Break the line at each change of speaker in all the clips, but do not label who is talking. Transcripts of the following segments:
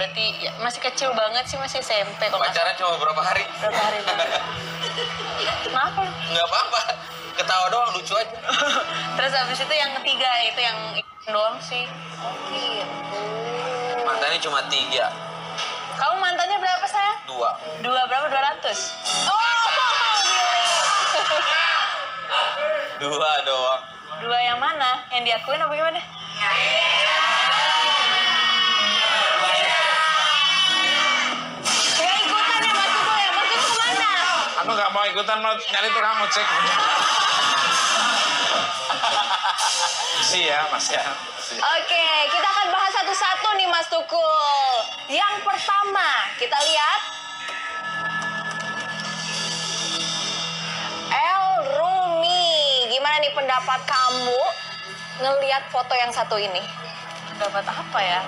berarti ya, masih kecil banget sih masih SMP kalau nggak
Pacaran cuma berapa hari?
salah. berapa hari dulu. Kenapa?
Nggak apa-apa. Ketawa doang lucu aja.
Terus abis itu yang ketiga itu yang doang sih. Oh gitu.
Mantannya cuma tiga,
Kamu mantannya berapa saya?
dua.
Dua berapa? Dua ratus. Oh,
Dua doang.
dua yang mana? Yang diakuin apa gimana? Nggak ikutan ya maksud gue, maksud gue kemana?
Aku nggak mau ikutan mau nyari tukang ojek. Masih ya,
Iya,
Mas ya. Masih.
Oke, kita akan bahas satu-satu nih Mas Tukul. Yang pertama, kita lihat El Rumi. Gimana nih pendapat kamu ngelihat foto yang satu ini? Pendapat apa ya?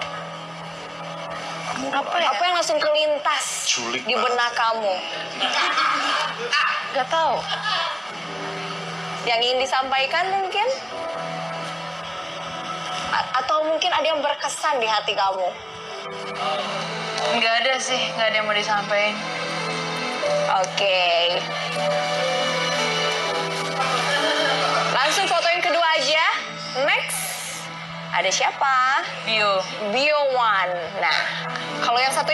Kamu
Apa, ya? yang langsung kelintas
Sulit
di
banget.
benak kamu? Gak tahu. Yang ingin disampaikan mungkin? A- atau mungkin ada yang berkesan di hati kamu? Nggak ada sih, nggak ada yang mau disampaikan. Oke. Langsung foto yang kedua aja. Next. Ada siapa? Bio. Bio One. Nah, kalau yang satu ini